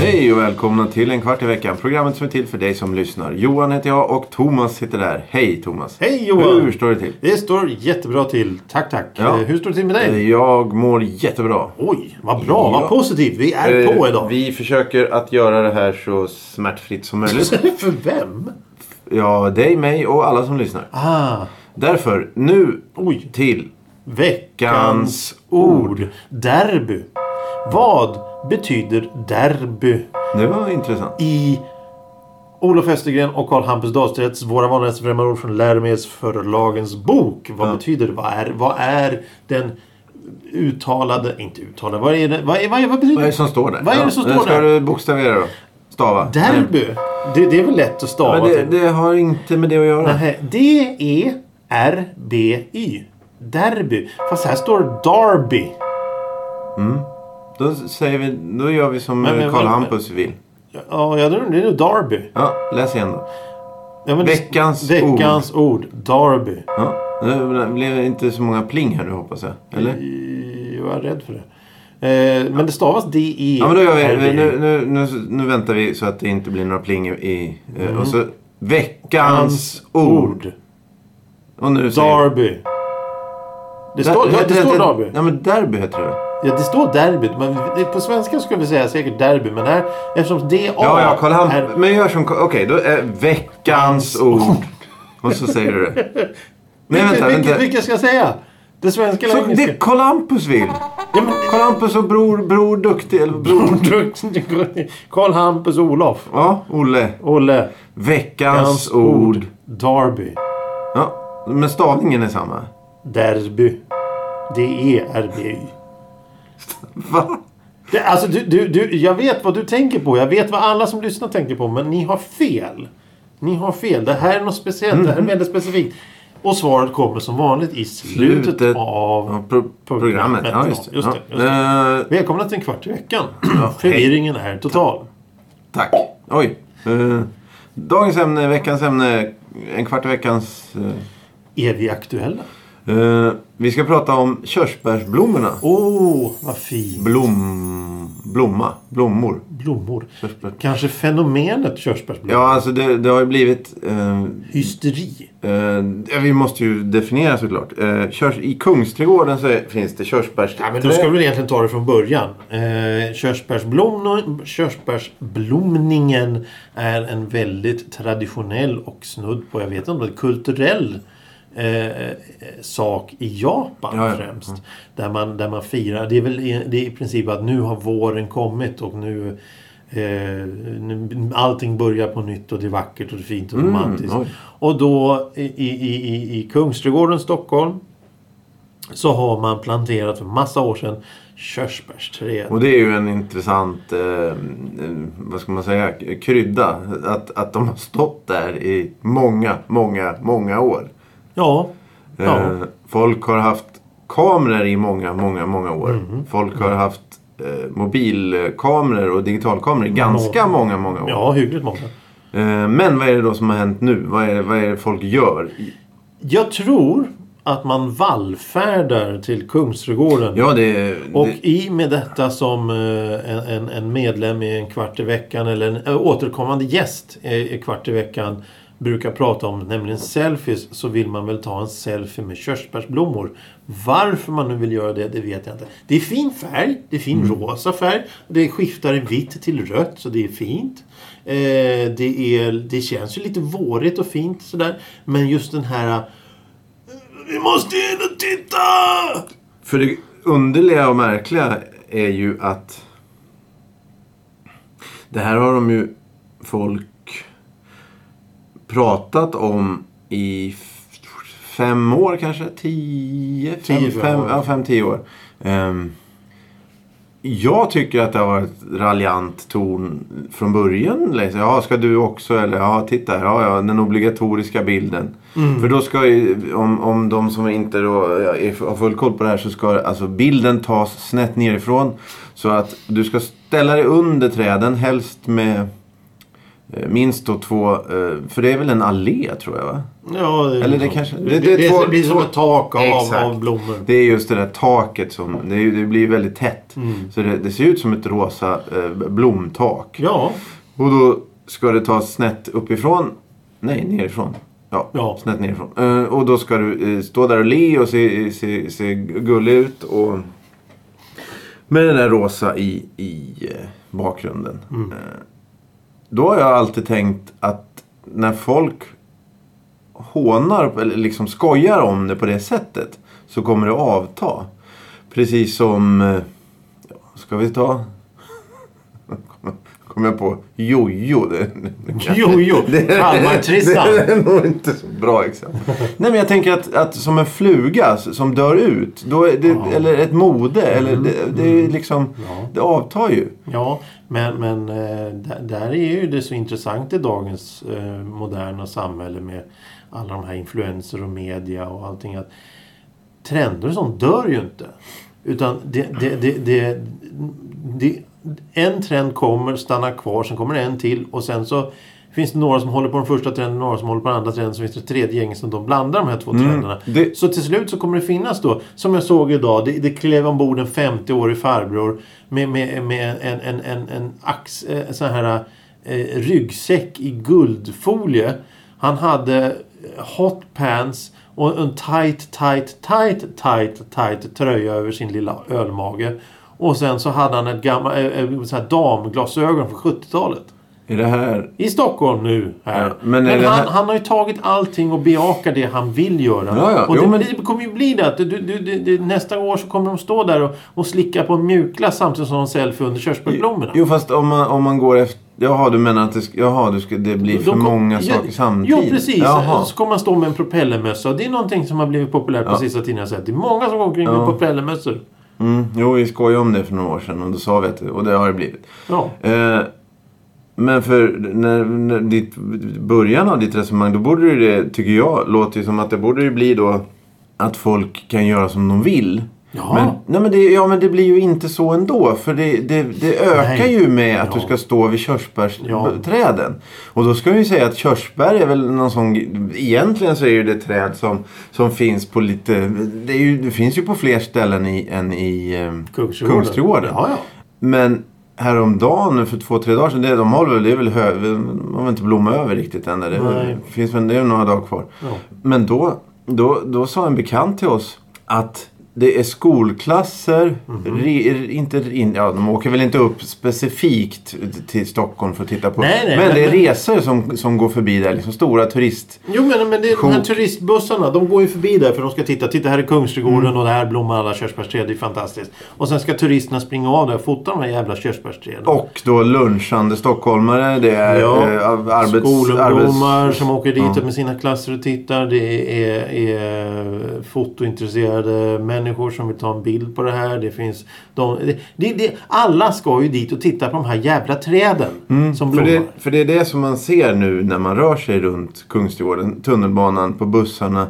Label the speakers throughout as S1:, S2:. S1: Hej och välkomna till en kvart i veckan. Programmet som är till för dig som lyssnar. Johan heter jag och Thomas sitter där. Hej Thomas!
S2: Hej, Johan.
S1: Hur står det till?
S2: Det står jättebra till. Tack, tack.
S1: Ja.
S2: Eh, Hur står det till med dig?
S1: Eh, Jag mår jättebra.
S2: Oj, vad bra.
S1: Ja.
S2: Vad positivt. Vi är
S1: Eh,
S2: på idag.
S1: Vi försöker att göra det här så smärtfritt som möjligt.
S2: För vem?
S1: ja, dig, mig och alla som lyssnar.
S2: Ah,
S1: Därför, nu
S2: Oj.
S1: till
S2: veckans
S1: Gans
S2: ord. Derby. Vad betyder derby
S1: Det var intressant.
S2: i Olof Östergren och Carl Hampus Dahlstedts Våra vanligaste främmande ord från läromedelsförlagens bok. Vad betyder det? Vad är, vad är den uttalade, inte uttalade, vad är det? Vad, är, vad, är, vad betyder
S1: Vad är det som står där?
S2: Vad är det som
S1: Ja,
S2: står
S1: Ska
S2: där?
S1: du bokstavera då? Stava? Nej.
S2: Derby. Det, det är väl lätt att stava
S1: Men det,
S2: till.
S1: det har inte med det att göra.
S2: Nähä, E, D-E-R-B-Y. Derby. Fast här står Derby.
S1: Då, säger vi, då gör vi som
S2: Men- men-
S1: eh, Karl
S2: men-
S1: Hampus vill.
S2: Ja, jag tror det är nog Derby.
S1: Ja, läs igen då.
S2: Ja, men det-
S1: Veckans
S2: veckans ord. Derby.
S1: Ja, det blev inte så många pling här nu hoppas jag. Eller?
S2: Jag var rädd för det. Eh, men det stavas D-E.
S1: Ja men då gör vi. Nu, nu, nu, nu väntar vi så att det inte blir några pling i... i eh, Och så veckans ord.
S2: Mm. ord.
S1: Och nu säger
S2: Derby. Det står, det, det står derby.
S1: Ja men derby heter det väl?
S2: Ja, det står derby. Men det- på svenska skulle vi säga säkert derby. Men här, eftersom D-A
S1: Ja, ja, Karl
S2: är-
S1: Hampus. Men gör som... Okej, då är veckans ord. Och så säger du det. Nej, vänta,
S2: vilket,
S1: vänta.
S2: vilket ska jag säga? Det svenska eller
S1: Så det
S2: engelska?
S1: är Karl Hampus vill.
S2: Ja, men...
S1: Karl Hampus och bror, bror duktig. Eller bror...
S2: Karl Hampus Olof.
S1: Ja, Olle.
S2: Olle.
S1: Veckans
S2: Hans
S1: ord.
S2: Derby.
S1: Ja, men stavningen är samma.
S2: Derby. E D-E-R-B-Y.
S1: Va?
S2: Det, alltså, du, du, du, jag vet vad du tänker på. Jag vet vad alla som lyssnar tänker på. Men ni har fel. Ni har fel. Det här är något speciellt. Det här är väldigt specifikt. Och svaret kommer som vanligt i slutet, av...
S1: ja, pro- programmet. Ja, just det.
S2: Just det,
S1: Ja.
S2: just
S1: Eh,
S2: Välkomna till en kvart i veckan. Förvirringen är total.
S1: tack. Oj. Eh, dagens ämne, veckans ämne, en kvart i veckans... eh,
S2: Är vi aktuella?
S1: eh, vi ska prata om körsbärsblommorna.
S2: Åh, oh, vad fint.
S1: Blom... Blomma. Blommor.
S2: Blommor.
S1: Körsbär.
S2: Kanske fenomenet körsbärsblomma.
S1: Ja, alltså det, det har ju blivit... eh,
S2: Hysteri.
S1: eh, ja, vi måste ju definiera såklart. Eh, körs, I Kungsträdgården så är, finns det körsbärsträd.
S2: Ja, men då ska vi väl egentligen ta det från början. Eh, körsbärsblom, körsbärsblomningen är en väldigt traditionell och snudd på, jag vet inte, kulturell eh, eh, sak i Japan
S1: Ja, Mm. ja.
S2: främst. Där, man, där man firar. Det är väl i, det är i princip att nu har våren kommit och nu Eh, nu- allting börjar på nytt och det är vackert och det är fint och romantiskt.
S1: Mm, oj.
S2: och då i, i, i, i- i Kungsträdgården, Stockholm, så har man planterat för massa år sedan körsbärsträd.
S1: Och det är ju en intressant, eh, eh, vad ska man säga, krydda. Att, att de har stått där i många, många, många år.
S2: Ja, ja.
S1: Eh, folk har haft kameror i många, många, många år.
S2: Mhm.
S1: Folk har haft eh, mobilkameror och digitalkameror i ganska
S2: Nå-
S1: många, många år.
S2: ja hyggligt många.
S1: Eh, men vad är det då som har hänt nu? Vad är, vad är det folk gör?
S2: Jag tror att man vallfärdar till Kungsträdgården.
S1: Ja, det...
S2: Och
S1: det
S2: i med detta som eh, en, en, en medlem i en kvart i veckan eller en eh, återkommande gäst i i kvart i veckan brukar prata om, nämligen selfies, så vill man väl ta en selfie med körsbärsblommor. Varför man nu vill göra det, det vet jag inte. Det är fin färg, det är fin rosa färg, det skiftar i vitt till rött så det är fint. Eh, det, är, det känns ju lite vårigt och fint sådär, men just den här eh, Vi måste in och titta!
S1: För det underliga och märkliga är ju att det här har de ju folk pratat om i f- fem år kanske? Tio? Fem,
S2: Tio,
S1: fem,
S2: fem år.
S1: ja, fem, tio år. Ehm, Jag tycker att det har varit raljant ton från början. Liksom. Ja, ska du också? Eller ja, titta här. Ja, ja, den obligatoriska bilden. För då ska ju, om, om de som inte då är, har full koll på det här så ska alltså bilden tas snett nerifrån. Så att du ska ställa dig under träden, helst med eh, minst då två, eh, för det är väl en allé tror jag va?
S2: Ja, det,
S1: Eller det
S2: så.
S1: kanske-
S2: det,
S1: det-
S2: det,
S1: det är två-
S2: blir som
S1: två-
S2: ett tak av,
S1: Exakt.
S2: av blommor.
S1: Det är just det där taket som, det, är ju- det blir väldigt tätt. Så det, det ser ut som ett rosa eh, blomtak.
S2: Ja,
S1: Och då ska det tas snett uppifrån. Nej, nerifrån. Ja,
S2: Ja.
S1: snett nerifrån. Eh, och då ska du eh, stå där och le och se, se, se gullig ut. Och... Med den där rosa i, i eh, bakgrunden. Eh, då har jag alltid tänkt att när folk hånar eller liksom skojar om det på det sättet så kommer det avta. Precis som... eh, Ja, ska vi ta... Kommer jag på jojo? Det-
S2: jojo. Kalmartristan.
S1: Det är nog inte så bra exempel. Nej men jag tänker att, att som en fluga s- som dör ut. Då är det, Eller ett mode. Eller det, det är liksom... Det avtar ju.
S2: Ja, men, men eh, där- där är ju det så intressant i dagens eh, moderna samhälle med alla de här influenser och media och allting. Att trender och sånt dör ju inte. Utan det, det, det, det, det, en trend kommer, stannar kvar, sen kommer det en till och sen så finns det några som håller på den första trenden, några som håller på den andra trenden, så finns det ett tredje gäng som de blandar de här två trenderna.
S1: det-
S2: Så till slut så kommer det finnas då, som jag såg idag, det, det klev ombord en 50-årig farbror med, med, med en, en, en, en ax, eh, sån här eh, ryggsäck i guldfolie. Han hade hot pants och en tight, tight, tight, tight, tight tröja över sin lilla ölmage. Och sen så hade han ett gammalt eh, eh, så här damglasögon från 70-talet.
S1: Är det här...
S2: I Stockholm nu. Här.
S1: Ja,
S2: men
S1: men är det
S2: han,
S1: här-
S2: han har ju tagit allting och bejakar det han vill göra.
S1: Ja, ja,
S2: Och det
S1: jo, men-
S2: blir, kommer ju bli det att du, du, du, du, nästa år så kommer de stå där och, och slicka på en mjukglass samtidigt som de selfie under körsbärsblommorna.
S1: Jo fast om man, om man går efter... Jaha du menar att det, sk- jaha, du ska, det blir
S2: De
S1: för
S2: kom-
S1: många
S2: Ja,
S1: saker samtidigt?
S2: Jo, precis.
S1: Jaha.
S2: Så kommer man stå med en propellermössa. Och det är någonting som har blivit populärt på sista tiden. Jag har sett. Det är många som går omkring med propellermössor.
S1: Mm, jo, vi skojade om det för några år sedan och då sa vi att och det har det blivit.
S2: Ja.
S1: Eh, men för när, när ditt, början av ditt resonemang, då borde ju det, tycker jag, låter ju som att det borde ju bli då att folk kan göra som de vill.
S2: Ja.
S1: Men, nej men det, ja, men det blir ju inte så ändå. För det, det, det ökar
S2: Nej.
S1: ju med att
S2: Ja.
S1: du ska stå vid
S2: Ja.
S1: körsbärsträden. Och då ska vi ju säga att körsbär är väl någon sån... Egentligen så är ju det ett träd som, som finns på lite... Det, är ju, det finns ju på fler ställen i, än i ehm,
S2: Kungsträdgården.
S1: Kungsträdgården.
S2: Ja, ja.
S1: Men häromdagen, för två, tre dagar sedan, det, de håller väl, det är väl hö, de har väl inte blommat över riktigt än. där.
S2: Nej.
S1: Det finns väl, det är några dagar kvar.
S2: Ja.
S1: Men då, då, då sa en bekant till oss att det är skolklasser,
S2: Mhm.
S1: re, inte, in, ja, de åker väl inte upp specifikt till Stockholm för att titta på.
S2: Nej, nej,
S1: men det är
S2: men-
S1: resor som, som går förbi där, liksom stora turist...
S2: Jo men, men det är de här
S1: Sjok.
S2: turistbussarna. De går ju förbi där för de ska titta. Titta här är Kungsträdgården
S1: Mm.
S2: och där blommar alla körsbärsträd. Det är fantastiskt. Och sen ska turisterna springa av där och fota de här jävla körsbärsträden.
S1: Och då lunchande stockholmare, det är
S2: Ja,
S1: eh, arbets...
S2: Skolungdomar
S1: arbets-
S2: som åker dit med sina klasser och tittar. Det är, är fotointresserade människor som vill ta en bild på det här. Det finns de, det, det, det, alla ska ju dit och titta på de här jävla träden som
S1: Mm. För
S2: blommar.
S1: det, för det är det som man ser nu när man rör sig runt Kungsträdgården, tunnelbanan, på bussarna.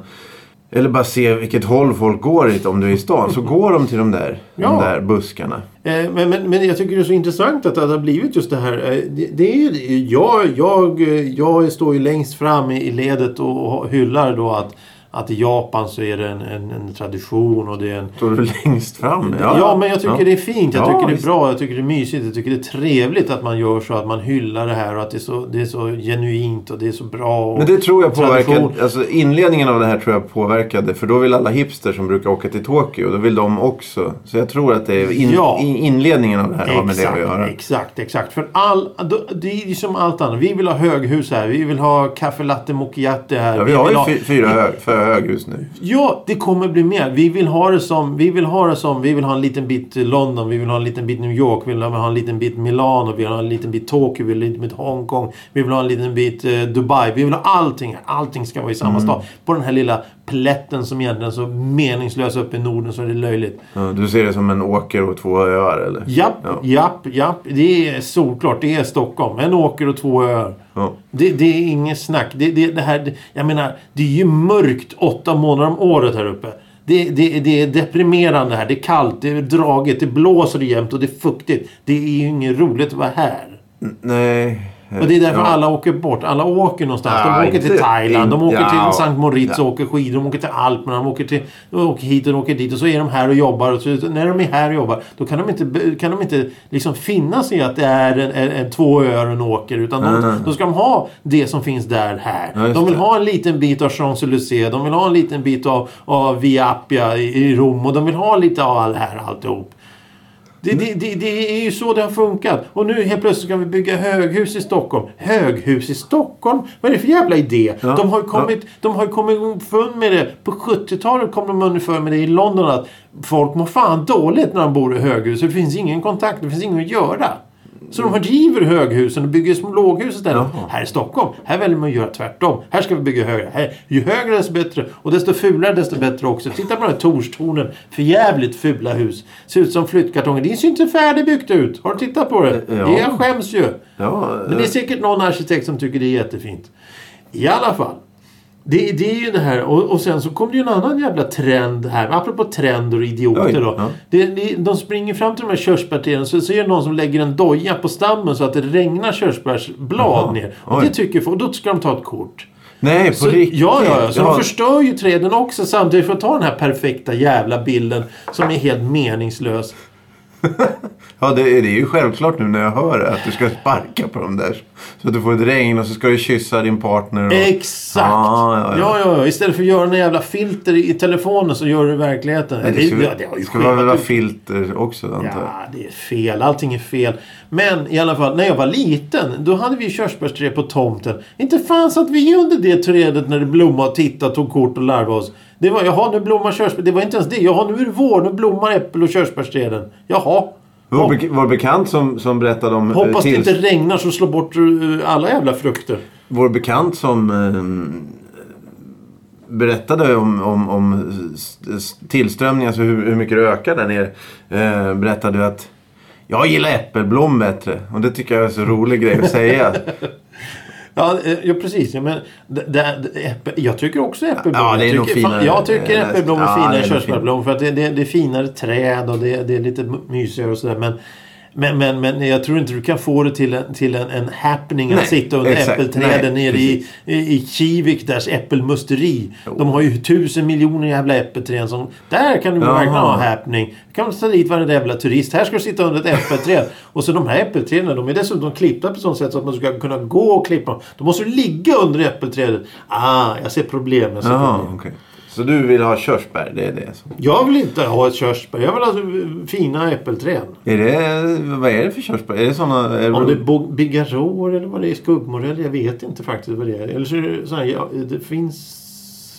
S1: Eller bara se vilket håll folk går i om du är i stan. Så går de till de där, de
S2: Ja.
S1: där buskarna.
S2: Eh, Men, men, men jag tycker det är så intressant att det har blivit just det här. eh, Det, det är ju, jag, jag, eh, jag står ju längst fram i, i ledet och, och hyllar då att, att i Japan så är det en, en, en tradition och det är en...
S1: Står du längst fram?
S2: Ja, men jag tycker det är fint. Jag
S1: Ja,
S2: tycker det är
S1: visst.
S2: bra. Jag tycker det är mysigt. Jag tycker det är trevligt att man gör så. Att man hyllar det här och att det är så, det är så genuint och det är så bra. Och
S1: Men det tror jag
S2: tradition.
S1: påverkade, alltså inledningen av det här tror jag påverkade. För då vill alla hipster som brukar åka till Tokyo, då vill de också. Så jag tror att det är in,
S2: Ja.
S1: i- inledningen av det här har med det
S2: Exakt,
S1: att göra.
S2: exakt, exakt. För all, då- det är ju som allt annat. Vi vill ha höghus här. Vi vill ha kaffe latte macchiato här.
S1: Ja, vi har
S2: vill
S1: ju
S2: ha-
S1: fy- fyra hög, för höghus nu.
S2: Ja, det kommer bli mer. Vi vill ha det som, vi vill ha det som, vi vill ha en liten bit London, vi vill ha en liten bit New York, vi vill ha en liten bit Milano, vi vill ha en liten bit Tokyo, vi vill ha en liten bit
S1: Mm.
S2: Hongkong, vi vill ha en liten bit eh, Dubai, vi vill ha allting här. Allting ska vara i samma stad. På den här lilla plätten som egentligen är så meningslös uppe i Norden så är det löjligt.
S1: Ja, du ser det som en åker och två öar eller?
S2: Japp,
S1: Ja.
S2: japp, japp. Det är solklart. Det är Stockholm. En åker och två öar.
S1: Ja.
S2: Det, det är inget snack. Det, det, det här, det, jag menar, det är ju mörkt åtta månader om året här uppe. Det, det, det är deprimerande här. Det är kallt, det är dragigt, det blåser jämt och det är fuktigt. Det är ju inget roligt att vara här.
S1: N- Nej.
S2: Och det är därför
S1: Ja.
S2: alla åker bort. Alla åker någonstans.
S1: Ja,
S2: de åker till
S1: inte-
S2: Thailand, de
S1: in-
S2: åker
S1: ja.
S2: till Sankt Moritz
S1: Ja.
S2: och åker skidor. De åker till Alperna, de åker, till, de åker hit och de åker dit. Och så är de här och jobbar. Och så, när de är här och jobbar, då kan de inte, be- kan de inte liksom finna sig i att det är en, en, en, två öar och en åker. Utan de, då ska de ha det som finns där här.
S1: Ja, just
S2: de vill
S1: det.
S2: ha en liten bit av Champs-Élysées. De vill ha en liten bit av, av Via Appia i, i Rom. Och de vill ha lite av all här alltihop. Det, det, det, det är ju så det har funkat. Och nu helt plötsligt ska vi bygga höghus i Stockholm. Höghus i Stockholm? Vad är det för jävla idé?
S1: Ja,
S2: De har ju kommit, de har ju kommit underfund med det. På 70-talet kom de underfund med det i London att folk mår fan dåligt när de bor i höghus. Det finns ingen kontakt, det finns inget att göra. Så de river höghusen och bygger små låghus istället.
S1: Jaha.
S2: Här i Stockholm, här väljer man att göra tvärtom. Här ska vi bygga högre. Här, ju högre desto bättre. Och desto fulare desto bättre också. Titta på den här Torstornen. För jävligt fula hus. Ser ut som flyttkartonger. Det ser ju inte färdigbyggt ut. Har du tittat på det?
S1: Eh, Ja.
S2: Det Jag skäms ju.
S1: Ja,
S2: Men det är säkert någon arkitekt som tycker det är jättefint. I alla fall. Det, det är ju det här. Och, och sen så kom det ju en annan jävla trend här. Apropå trender och idioter
S1: Oj,
S2: då.
S1: ja.
S2: Det, det, de springer fram till de här körsbärsträden så ser jag någon som lägger en doja på stammen så att det regnar körsbärsblad
S1: Jaha,
S2: ner. Och
S1: oj.
S2: det tycker folk. Då ska de ta ett kort.
S1: nej, på
S2: Så, ja,
S1: riktigt.
S2: ja, ja. Så
S1: Jaha.
S2: de förstör ju träden också samtidigt för att ta den här perfekta jävla bilden som är helt meningslös.
S1: Ja, det, är- det är ju självklart nu när jag hör det, att du ska sparka på dem där. Så att du får ett regn och så ska du kyssa din partner. Och...
S2: Exakt!
S1: Ja, ja, ja.
S2: Istället för att göra en jävla filter i telefonen så gör du det i verkligheten.
S1: Nej, det ska,
S2: ja, har ju
S1: det ska väl
S2: skevat
S1: vara
S2: ut.
S1: filter också antar jag.
S2: Ja, det är fel. Allting är fel. Men i alla fall, när jag var liten, då hade vi körsbärsträd på tomten. Inte fanns att vi under det trädet när det blommade och tittade, tog kort och larvade oss. Det var, jaha, nu blommar körsbär. Det var inte ens det. Jaha, nu är det vår. Nu blommar äppel och körsbärsträden. Jaha.
S1: Vår, bek- vår bekant som, som berättade om... eh,
S2: Hoppas det
S1: tills-
S2: inte regnar så slår bort eh, alla jävla frukter.
S1: Vår bekant som eh, berättade om, om, om s- s- tillströmningen, alltså hur, hur mycket det ökar där nere. Eh, berättade ju att jag gillar äppelblom bättre. Och det tycker jag är en så rolig grej att säga.
S2: Ja, eh, ja precis. Ja, men, d- d- d- äppe, jag tycker också äppelblommor.
S1: Ja, det är
S2: jag
S1: nog
S2: tycker, fan,
S1: finare.
S2: Jag tycker
S1: Eh,
S2: äppelblommor
S1: ja,
S2: är finare
S1: det är
S2: än
S1: nog
S2: körsbärsblommor. För att det, det, det är finare träd och det, det är lite m- mysigare och sådär. Men, men, men, men jag tror inte du kan få det till en, till en, en happening att
S1: Nej,
S2: sitta under
S1: exakt.
S2: äppelträden
S1: Nej,
S2: nere i, i, i Kivik, deras äppelmusteri. De har ju tusen miljoner jävla äppelträd. Som, där kan du
S1: Jaha.
S2: verkligen ha happening. Du kan ta dit varenda jävla turist. Här ska du sitta under ett äppelträd. och så de här äppelträden, de är dessutom klippta på sånt sätt så att man ska kunna gå och klippa dem. Då måste du ligga under äppelträdet. Ah, jag ser problem. Jag, ser
S1: Jaha,
S2: problem.
S1: okej. Så du vill ha körsbär, det är det som...
S2: jag vill inte ha ett körsbär. Jag vill ha eh, fina äppelträd.
S1: Är det, vad är det för körsbär? Är det såna... Är
S2: Om det är
S1: det,
S2: bo- bigarråer eller vad det är, skuggmorell, jag vet inte faktiskt vad det är. Eller så är det, så här, ja, det finns...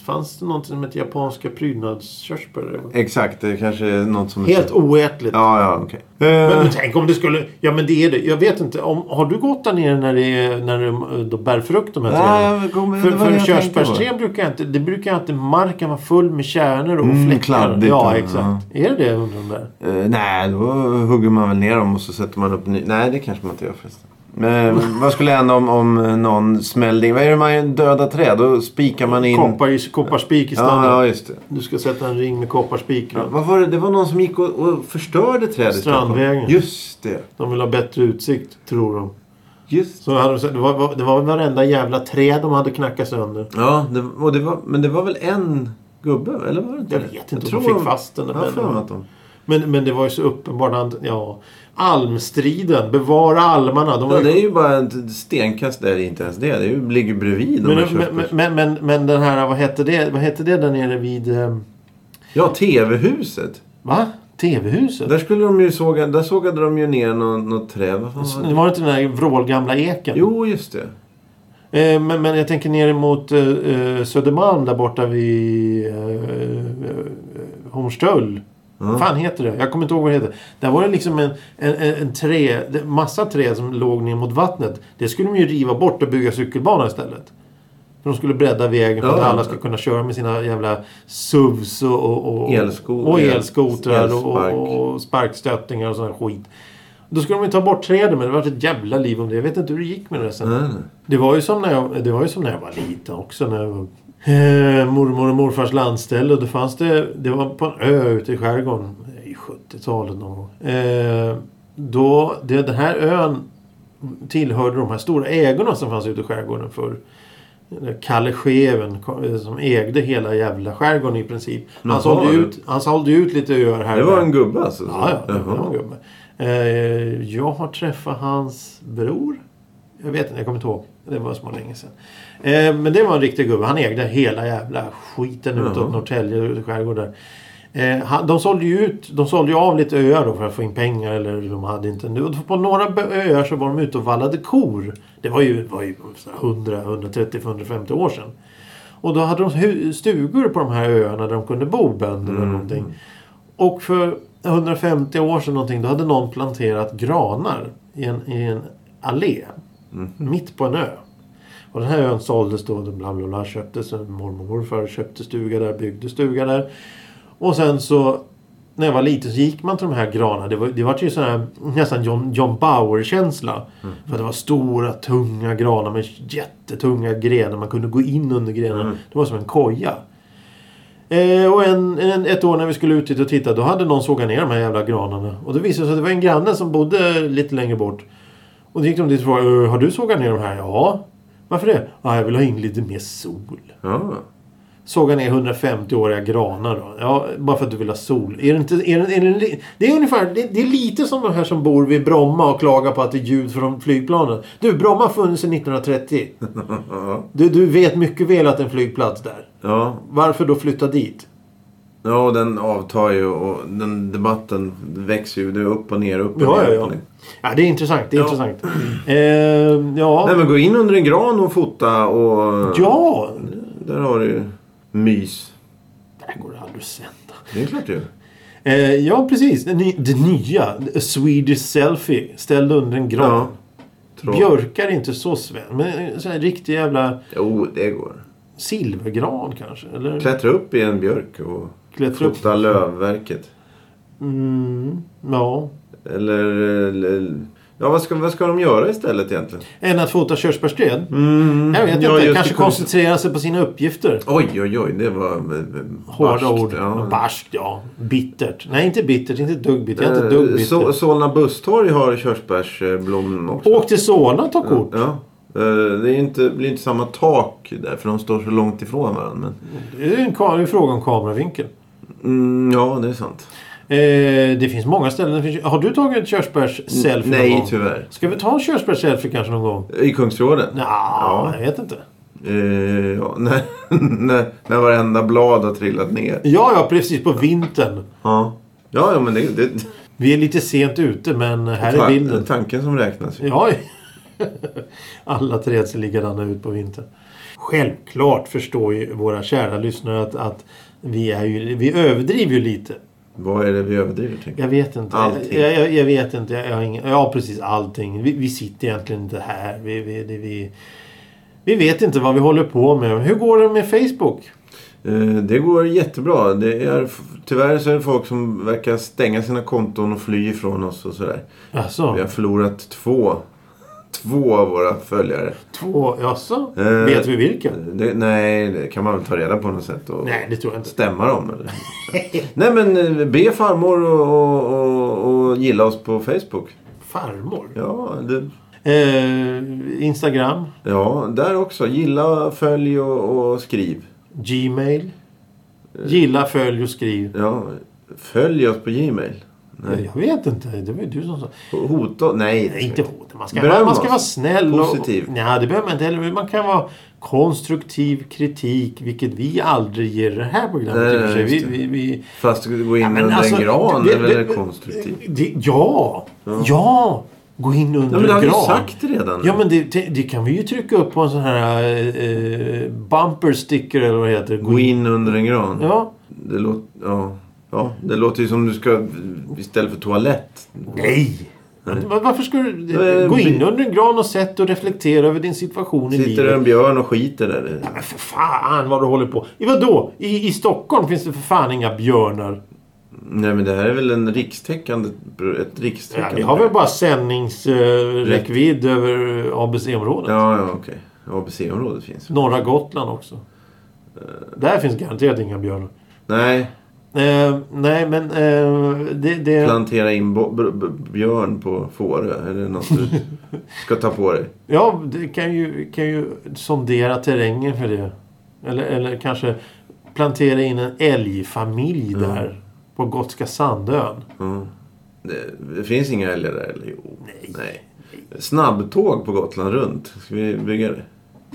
S2: Fanns det någonting som hette japanska prydnadskörsbär? eller vad?
S1: exakt, det kanske är något som...
S2: Helt oätligt.
S1: Ja, ja, okej.
S2: Men,
S1: Eh,
S2: men tänk om det skulle... Ja men det är det. Jag vet inte. Om, har du gått där nere när det, är- när det då bär frukt de här
S1: Nej,
S2: träden?
S1: jag kommer- det
S2: För,
S1: var det
S2: för
S1: jag tänkte på.
S2: körsbärsträd brukar jag inte... Det brukar alltid marken vara full med kärnor och
S1: Mm,
S2: fläckar.
S1: kladdigt,
S2: ja,
S1: ja.
S2: exakt. Är det det undrar de där?
S1: Eh, nej, då hugger man väl ner dem och så sätter man upp ny... Nej, det kanske man inte gör förresten. Men vad skulle hända om, om någon smällde in? Vad är det man döda träd? Då spikar man in...
S2: Koppar, i- kopparspik i
S1: Ja,
S2: standard.
S1: ja, just det.
S2: Du ska sätta en ring med kopparspik runt.
S1: Vad var det? Det var någon som gick och, och förstörde trädet.
S2: Strandvägen.
S1: Just det.
S2: De vill ha bättre utsikt, tror de.
S1: Just
S2: Så hade de, sagt- det, var, var- det var varenda jävla träd de hade knackat sönder.
S1: Ja, det, och det var, men det var väl en gubbe? Eller var det inte
S2: Jag
S1: det?
S2: vet inte om de fick fast den.
S1: Jag har för mig
S2: Men,
S1: att de...
S2: men, men det var ju så uppenbart. att- Ja, almstriden. Bevara almarna. De var
S1: Ja,
S2: ju-
S1: det är ju bara ett stenkast. Det är inte ens det. Det är ju, ligger bredvid de här
S2: men, men,
S1: körsbärs-
S2: men, men, men den här, vad hette det, vad hette det där nere vid... eh,
S1: Ja, TV-huset.
S2: Va? TV-huset?
S1: Där skulle de ju såga, där sågade de ju ner något, något träd. Vad fan var det?
S2: Det var inte den där vrålgamla eken?
S1: Jo, just det.
S2: Eh, men, men jag tänker ner mot eh, eh, Södermalm där borta vid eh, eh, Hornstull.
S1: Mm.
S2: Vad fan heter det? Jag kommer inte ihåg vad det heter. Där var det liksom en, en, en, en trä, det- massa träd som låg ner mot vattnet. Det skulle de ju riva bort och bygga cykelbana istället. För de skulle bredda vägen för
S1: Ja.
S2: att alla ska kunna köra med sina jävla SUVs och, och, och,
S1: Elskot-
S2: och elskotrar och,
S1: elspark.
S2: och, och sparkstöttingar och sån här skit. Då skulle de ju ta bort träden men det var ett jävla liv om det. Jag vet inte hur det gick med det sen. Det var ju som när jag, det var, ju som när jag var liten också. När jag var, eh, mormor och morfars landställe. Och då fanns det, det var på en ö ute i skärgården. I 70-talet någon gång. Eh, då, det, den här ön tillhörde de här stora ägorna som fanns ute i skärgården förr. Kalle Scheven kom- som ägde hela jävla skärgården i princip. Han
S1: Jaha.
S2: sålde ut, han sålde ut lite öar här
S1: Det
S2: och
S1: var
S2: där.
S1: en gubbe alltså?
S2: Ja, ja, det
S1: Jaha.
S2: var en gubbe. Eh, jag har träffat hans bror. Jag vet inte, jag kommer inte ihåg. Det var så länge sedan. Eh, men det var en riktig gubbe. Han ägde hela jävla skiten utåt
S1: Jaha.
S2: Norrtälje ut i skärgården. där. Eh, han, de sålde ju ut, de sålde ju av lite öar då för att få in pengar eller de hade inte nu. Och På några bö- öar så var de ute och vallade kor. Det var ju, var ju så här 100, 130, 150 år sedan. Och då hade de hu- stugor på de här öarna där de kunde bo, bönder eller någonting. Och för 150 år sedan någonting, då hade någon planterat granar i en, i en allé. Mitt på en ö. Och den här ön såldes då, bla bla bla, köptes. Mormor och morfar köpte stuga där, byggde stuga där. Och sen så när jag var liten så gick man till de här granarna. Det var, det var ju sån här, nästan John, John Bauer-känsla. För att det var stora, tunga granar med jättetunga grenar. Man kunde gå in under grenarna. Det var som en koja. Eh, och en, en, ett år när vi skulle ut dit och titta då hade någon sågat ner de här jävla granarna. Och det visade sig att det var en granne som bodde lite längre bort. Och då gick de dit och frågade, "Eh, har du sågat ner de här? Ja. Varför det? Ja, jag vill ha in lite mer sol.
S1: Ja.
S2: Såga ner 150-åriga granar då. Ja, bara för att du vill ha sol. Är det, inte, är det, är det, li- det är ungefär, det, det är lite som de här som bor vid Bromma och klagar på att det är ljud från flygplanen. Du, Bromma har funnits sedan 1930. Du, du vet mycket väl att det är en flygplats där.
S1: Ja.
S2: Varför då flytta dit?
S1: Ja, och den avtar ju och den debatten växer ju. Det är upp och ner, upp och ner.
S2: Ja, ja,
S1: upp
S2: ja.
S1: och ner.
S2: Ja, det är intressant. Det är
S1: Ja.
S2: intressant. Ehm, ja.
S1: Nej men gå in under en gran och fota och...
S2: ja.
S1: Där har du ju mys.
S2: Det här går aldrig att sända.
S1: Det är klart det gör.
S2: Eh, ja, precis. Det, ny, det nya. A Swedish selfie. Ställd under en gran.
S1: Ja. Tråd.
S2: Björkar är inte så svensk. Men eh, så här riktig jävla
S1: Jo, det går.
S2: silvergran kanske? Eller
S1: Klättra upp i en björk och
S2: klättra upp?
S1: fota lövverket.
S2: Mm, ja.
S1: Eller... eller- Ja, vad ska, vad ska de göra istället egentligen?
S2: Än att fota körsbärsträd?
S1: Mm,
S2: Jag vet
S1: ja,
S2: inte.
S1: just
S2: Kanske
S1: det, kunde-
S2: koncentrera sig på sina uppgifter.
S1: Oj, oj, oj. Det var... eh,
S2: Hårda
S1: barskt,
S2: ord.
S1: ja.
S2: Barskt, ja. Bittert. Nej, inte bittert. Inte ett dugg bittert. Jag är inte ett dugg
S1: Eh,
S2: bitter.
S1: Sol- Solna busstorg har körsbärsblommen också.
S2: Åk till Solna och ta kort.
S1: Ja. Eh, Det är inte, blir inte samma tak där för de står så långt ifrån varandra. Men...
S2: Det är en ka- det är fråga om kameravinkel.
S1: Mm, ja, det är sant.
S2: Eh, det finns många ställen. Det Finns, har du tagit ett körsbärs-selfie någon
S1: Nej,
S2: gång?
S1: tyvärr.
S2: Ska vi ta en körsbärs-selfie kanske någon gång?
S1: I Kungsträdgården?
S2: Nja,
S1: Ja.
S2: jag vet inte.
S1: Eh, ja, när, när, när varenda blad har trillat ner.
S2: Ja, ja, precis. På vintern.
S1: Ja, ja, ja men det, det
S2: Vi är lite sent ute, men här är bilden.
S1: ta, tanken som räknas. ju.
S2: Ja. Alla träd ser likadana ut på vintern. Självklart förstår ju våra kära lyssnare att, att vi, är ju, vi överdriver ju lite.
S1: Vad är det vi överdriver? tänker
S2: Jag vet inte.
S1: Allting.
S2: Jag, jag, jag vet inte. Jag har ingen, ja, precis. Allting. Vi, vi sitter egentligen inte här. Vi, vi, det, vi, vi vet inte vad vi håller på med. Hur går det med Facebook?
S1: jag? Eh, det går jättebra. Det är, tyvärr så är det folk som verkar stänga sina konton och fly ifrån oss och sådär.
S2: Jaså?
S1: Vi har förlorat två, två av våra följare.
S2: Två? Jaså?
S1: Eh,
S2: vet vi vilka?
S1: Det, nej, det kan man väl ta reda på något sätt. Och,
S2: Nej, det tror jag inte.
S1: Stämma dem eller? Nej men eh, be farmor och, och, och, och gilla oss på Facebook.
S2: Farmor?
S1: Ja, det,
S2: Eh, Instagram?
S1: ja där också. Gilla, följ och, och skriv.
S2: Gmail?
S1: Eh.
S2: Gilla, följ och skriv.
S1: Ja, följ oss på Gmail. Nej.
S2: Jag vet inte. Det var ju du som sa.
S1: Hota? Nej.
S2: Nej, inte hot. Man ska,
S1: Beröm
S2: man ska
S1: oss.
S2: vara snäll.
S1: Positiv.
S2: Och, nej, det behöver man inte heller. Men Man kan vara konstruktiv kritik, vilket vi aldrig ger det här programmet.
S1: Nej,
S2: i och för sig.
S1: just
S2: Vi,
S1: det.
S2: vi, vi,
S1: Fast gå in
S2: Ja, men
S1: under
S2: alltså,
S1: en gran
S2: det-
S1: är väl
S2: det-
S1: konstruktivt?
S2: det, ja, ja! Gå in under
S1: Ja, men det har
S2: en
S1: vi
S2: gran.
S1: sagt redan.
S2: Ja, men det, det- det kan vi ju trycka upp på en sån här eh, bumper sticker eller vad det heter.
S1: Gå in under en gran.
S2: Ja.
S1: Det, låter, ja. Ja, det låter ju som du ska istället för toalett.
S2: Nej! Va- Varför ska du
S1: Eh,
S2: gå in
S1: bli-
S2: under en gran och sätt och reflektera över din situation i
S1: Sitter
S2: livet?
S1: det en björn och skiter där?
S2: Men för fan vad du håller på. I vadå? I, I Stockholm finns det för fan inga björnar.
S1: Nej men det här är väl en rikstäckande... Ett
S2: Ja,
S1: rikstäckande...
S2: vi har väl bara sändningsräckvidd över ABC-området.
S1: Ja, ja okej. ABC-området finns.
S2: Norra Gotland också. Där finns garanterat inga björnar.
S1: Nej,
S2: Eh, nej, men eh, det... det
S1: plantera in bo- b- b- björn på Fårö. Är det något du ska ta på dig?
S2: Ja, det kan ju, kan ju sondera terrängen för det. Eller, eller kanske plantera in en älgfamilj där. På Gotska Sandön.
S1: Ja. Det, det finns inga älgar där, eller? Jo. Nej. Snabbtåg på Gotland runt. Ska vi bygga det?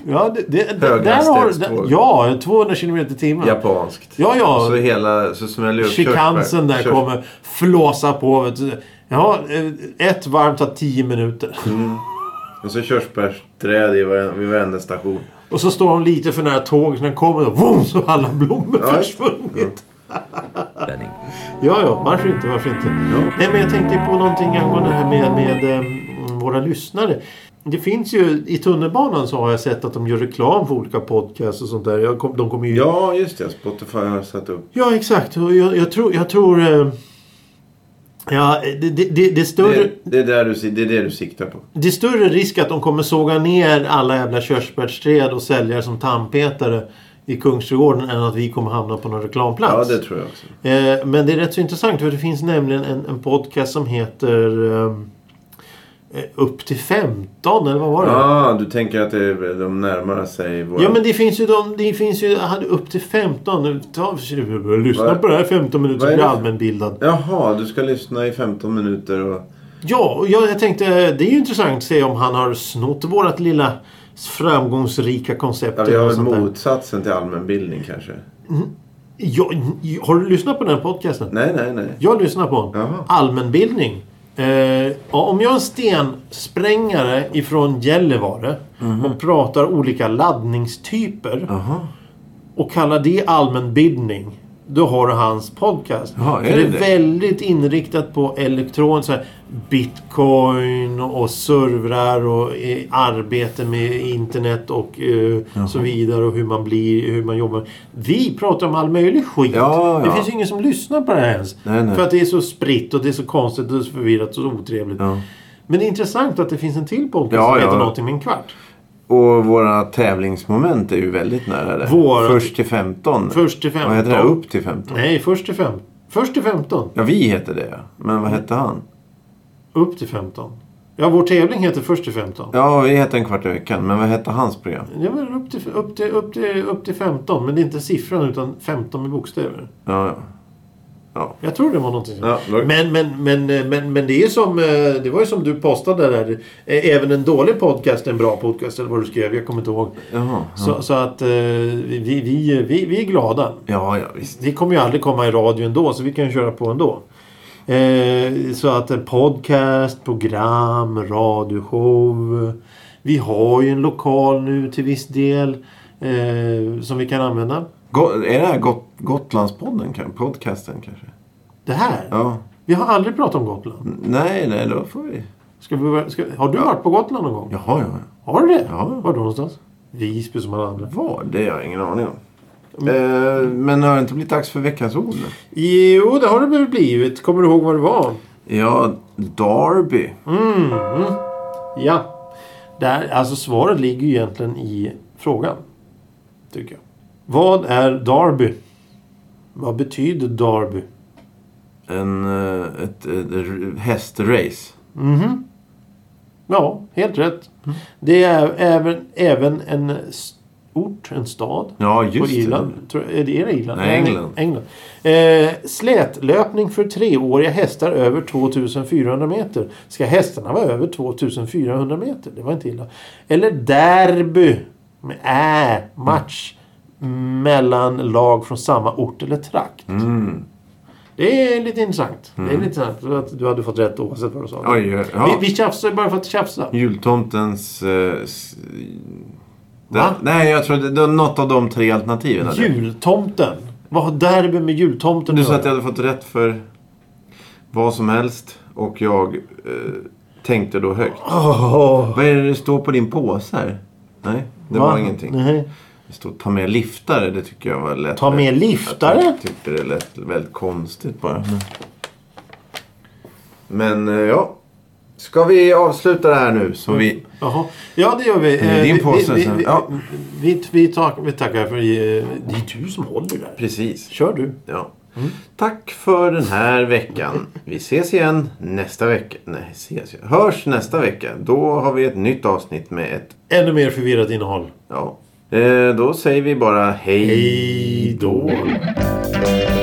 S2: Ja, det, det, det, där har,
S1: Höghastighetståg.
S2: där- ja 200 km i timmen.
S1: Japanskt.
S2: Ja, ja.
S1: Så hela... Så smäller upp
S2: Chikansen där
S1: körsbär-
S2: kommer flåsa på. Vet du. Ja, eh, ett varv tar 10 minuter.
S1: Mm. Och så körsbärsträd i varenda, vid varenda station.
S2: Och så står hon lite för nära tåget. När den kommer och vroom, så har alla blommor
S1: Ja.
S2: försvunnit. Ja, ja, varför inte? Varför inte? Nej, men jag tänkte på någonting angående det här med, med eh, våra lyssnare. Det finns ju, i tunnelbanan så har jag sett att de gör reklam för olika podcasts och sånt där. Jag kom, de kommer ju...
S1: Ja, just det. Spotify har satt upp.
S2: Ja, exakt. Och jag, jag tror... Jag tror eh, ja, det, det, det, det, är större,
S1: Det,
S2: det...
S1: det, är där du, si- det är det du siktar på.
S2: är större risk att de kommer såga ner alla jävla körsbärsträd och sälja det som tandpetare i Kungsträdgården än att vi kommer hamna på någon reklamplats.
S1: Ja, det tror jag också.
S2: Eh, men det är rätt så intressant för det finns nämligen en, en podcast som heter ehm, eh, Upp till 15 eller vad var det? Ja.
S1: Ja, ah, du tänker att det är, de närmar sig våra...
S2: men det finns ju de, det finns ju, han- upp till 15, nu ta, lyssna
S1: Vad-
S2: på det här 15 minuter så
S1: vad är det
S2: blir
S1: för-
S2: allmänbildad.
S1: Jaha, du ska lyssna i 15 minuter och...
S2: Ja, och jag, jag tänkte eh, det är ju intressant att se om han har snott vårat lilla framgångsrika koncept.
S1: Ja, vi
S2: eller
S1: har
S2: något
S1: väl
S2: sånt där.
S1: motsatsen till allmänbildning kanske.
S2: Ja, j- har du lyssnat på den här podcasten?
S1: Nej, nej, nej.
S2: Jag lyssnar på den.
S1: Jaha.
S2: Allmänbildning. Eh, ja, om jag är en stensprängare ifrån Gällivare och pratar olika laddningstyper
S1: Jaha.
S2: och kallar det allmänbildning. Då har du hans podcast.
S1: Ja, är
S2: För
S1: det
S2: det är
S1: det?
S2: väldigt inriktat på elektron, så här, bitcoin och servrar och eh, arbete med internet och eh, så vidare och hur man blir, hur man jobbar. Vi pratar om all möjlig skit.
S1: Ja,
S2: Det
S1: ja.
S2: finns ju ingen som lyssnar på det här ens.
S1: Nej, nej.
S2: För att det är så spritt och det är så konstigt och så förvirrat och så otrevligt.
S1: Ja.
S2: Men det är intressant att det finns en till podcast
S1: Ja,
S2: som heter
S1: ja.
S2: någonting med en kvart.
S1: Och våra tävlingsmoment är ju väldigt nära det.
S2: Våra-
S1: Först till 15.
S2: Först till
S1: Vad heter det?
S2: 15.
S1: Upp till 15.
S2: Nej, först till fem. Först till 15.
S1: Ja, vi heter det ja. Men vad hette han?
S2: Upp till 15. Ja, vår tävling heter först till 15.
S1: Ja, vi heter En kvart i veckan. Men vad hette hans program?
S2: Det var upp till, upp, till, upp, till, upp till 15, men det är inte siffran utan 15 med bokstäver.
S1: Ja, ja.
S2: Jag tror det var någonting sånt.
S1: Ja, det var-
S2: men, men, men, eh, men, men det är ju som, eh, det var ju som du postade där. Eh, Även en dålig podcast är en bra podcast, eller vad du skrev. Jag kommer inte ihåg.
S1: Jaha. Ja,
S2: Så, så att eh, vi, vi, vi, vi, vi är glada.
S1: ja, ja visst.
S2: Vi kommer ju aldrig komma i radio ändå, så vi kan ju köra på ändå. Eh, så att en podcast, program, radioshow. Vi har ju en lokal nu till viss del eh, som vi kan använda.
S1: Go- är det här Got- Gotlandspodden? kan- Podcasten kanske?
S2: Det här?
S1: Ja.
S2: Vi har aldrig pratat om Gotland.
S1: Nej, nej, då får vi...
S2: Ska vi, börja- ska, har du varit på Gotland någon gång?
S1: Jaha, ja.
S2: Har du det?
S1: Ja.
S2: Var då någonstans? Visby som alla andra.
S1: Vad? Det har jag ingen aning om. Eh, men har det inte blivit dags för veckans ord nu?
S2: Jo, det har det väl blivit. Kommer du ihåg vad det var?
S1: Ja, Derby.
S2: Ja. Där, alltså svaret ligger ju egentligen i frågan. Tycker jag. Vad är Derby? Vad betyder Derby?
S1: En, eh, ett, ett, r- hästrace.
S2: Ja, helt rätt. Det är även, även en s- ort, en stad.
S1: Ja,
S2: på
S1: just
S2: Irland. Tror, är det är det Irland?
S1: Nej, England.
S2: England. Eh, slätlöpning för treåriga hästar över 2400 meter. Ska hästarna vara över 2400 meter? Det var inte illa. Eller derby. Med ä, match. Mellan lag från samma ort eller trakt.
S1: det. Mm.
S2: Det är lite intressant. Det är lite intressant att du hade fått rätt oavsett vad du sa.
S1: Oj, eh, ja.
S2: Vi, vi tjafsar ju bara för att tjafsa.
S1: Jultomtens... eh, s-
S2: Va?
S1: Där- nej, jag tror det, det var något av de tre alternativen. hade jag.
S2: Jultomten. Vad har derby med jultomten
S1: Du
S2: att
S1: sa
S2: göra?
S1: att jag hade fått rätt för vad som helst. Och jag eh, tänkte då högt.
S2: Oh,
S1: Vad är det det står på din påse här? Nej, det var ingenting.
S2: Nej.
S1: Det stod ta med liftare. Det tycker jag var lätt.
S2: Ta med liftare?
S1: Jag tyckte det lät väldigt konstigt bara. Men eh, ja. Ska vi avsluta det här nu? Så
S2: Mm.
S1: vi...
S2: Jaha. Ja, det gör vi.
S1: Det är
S2: Eh,
S1: din
S2: vi-
S1: påse
S2: vi,
S1: sen.
S2: vi,
S1: Ja.
S2: vi, vi, tar, vi tackar för... eh, Det är du som håller där.
S1: Precis.
S2: Kör du.
S1: Ja. Tack för den här veckan. Vi ses igen nästa vecka. Nej, ses igen. Hörs nästa vecka. Då har vi ett nytt avsnitt med ett...
S2: Ännu mer förvirrat innehåll.
S1: Ja. Eh, Då säger vi bara hej
S2: Hej då.
S1: då.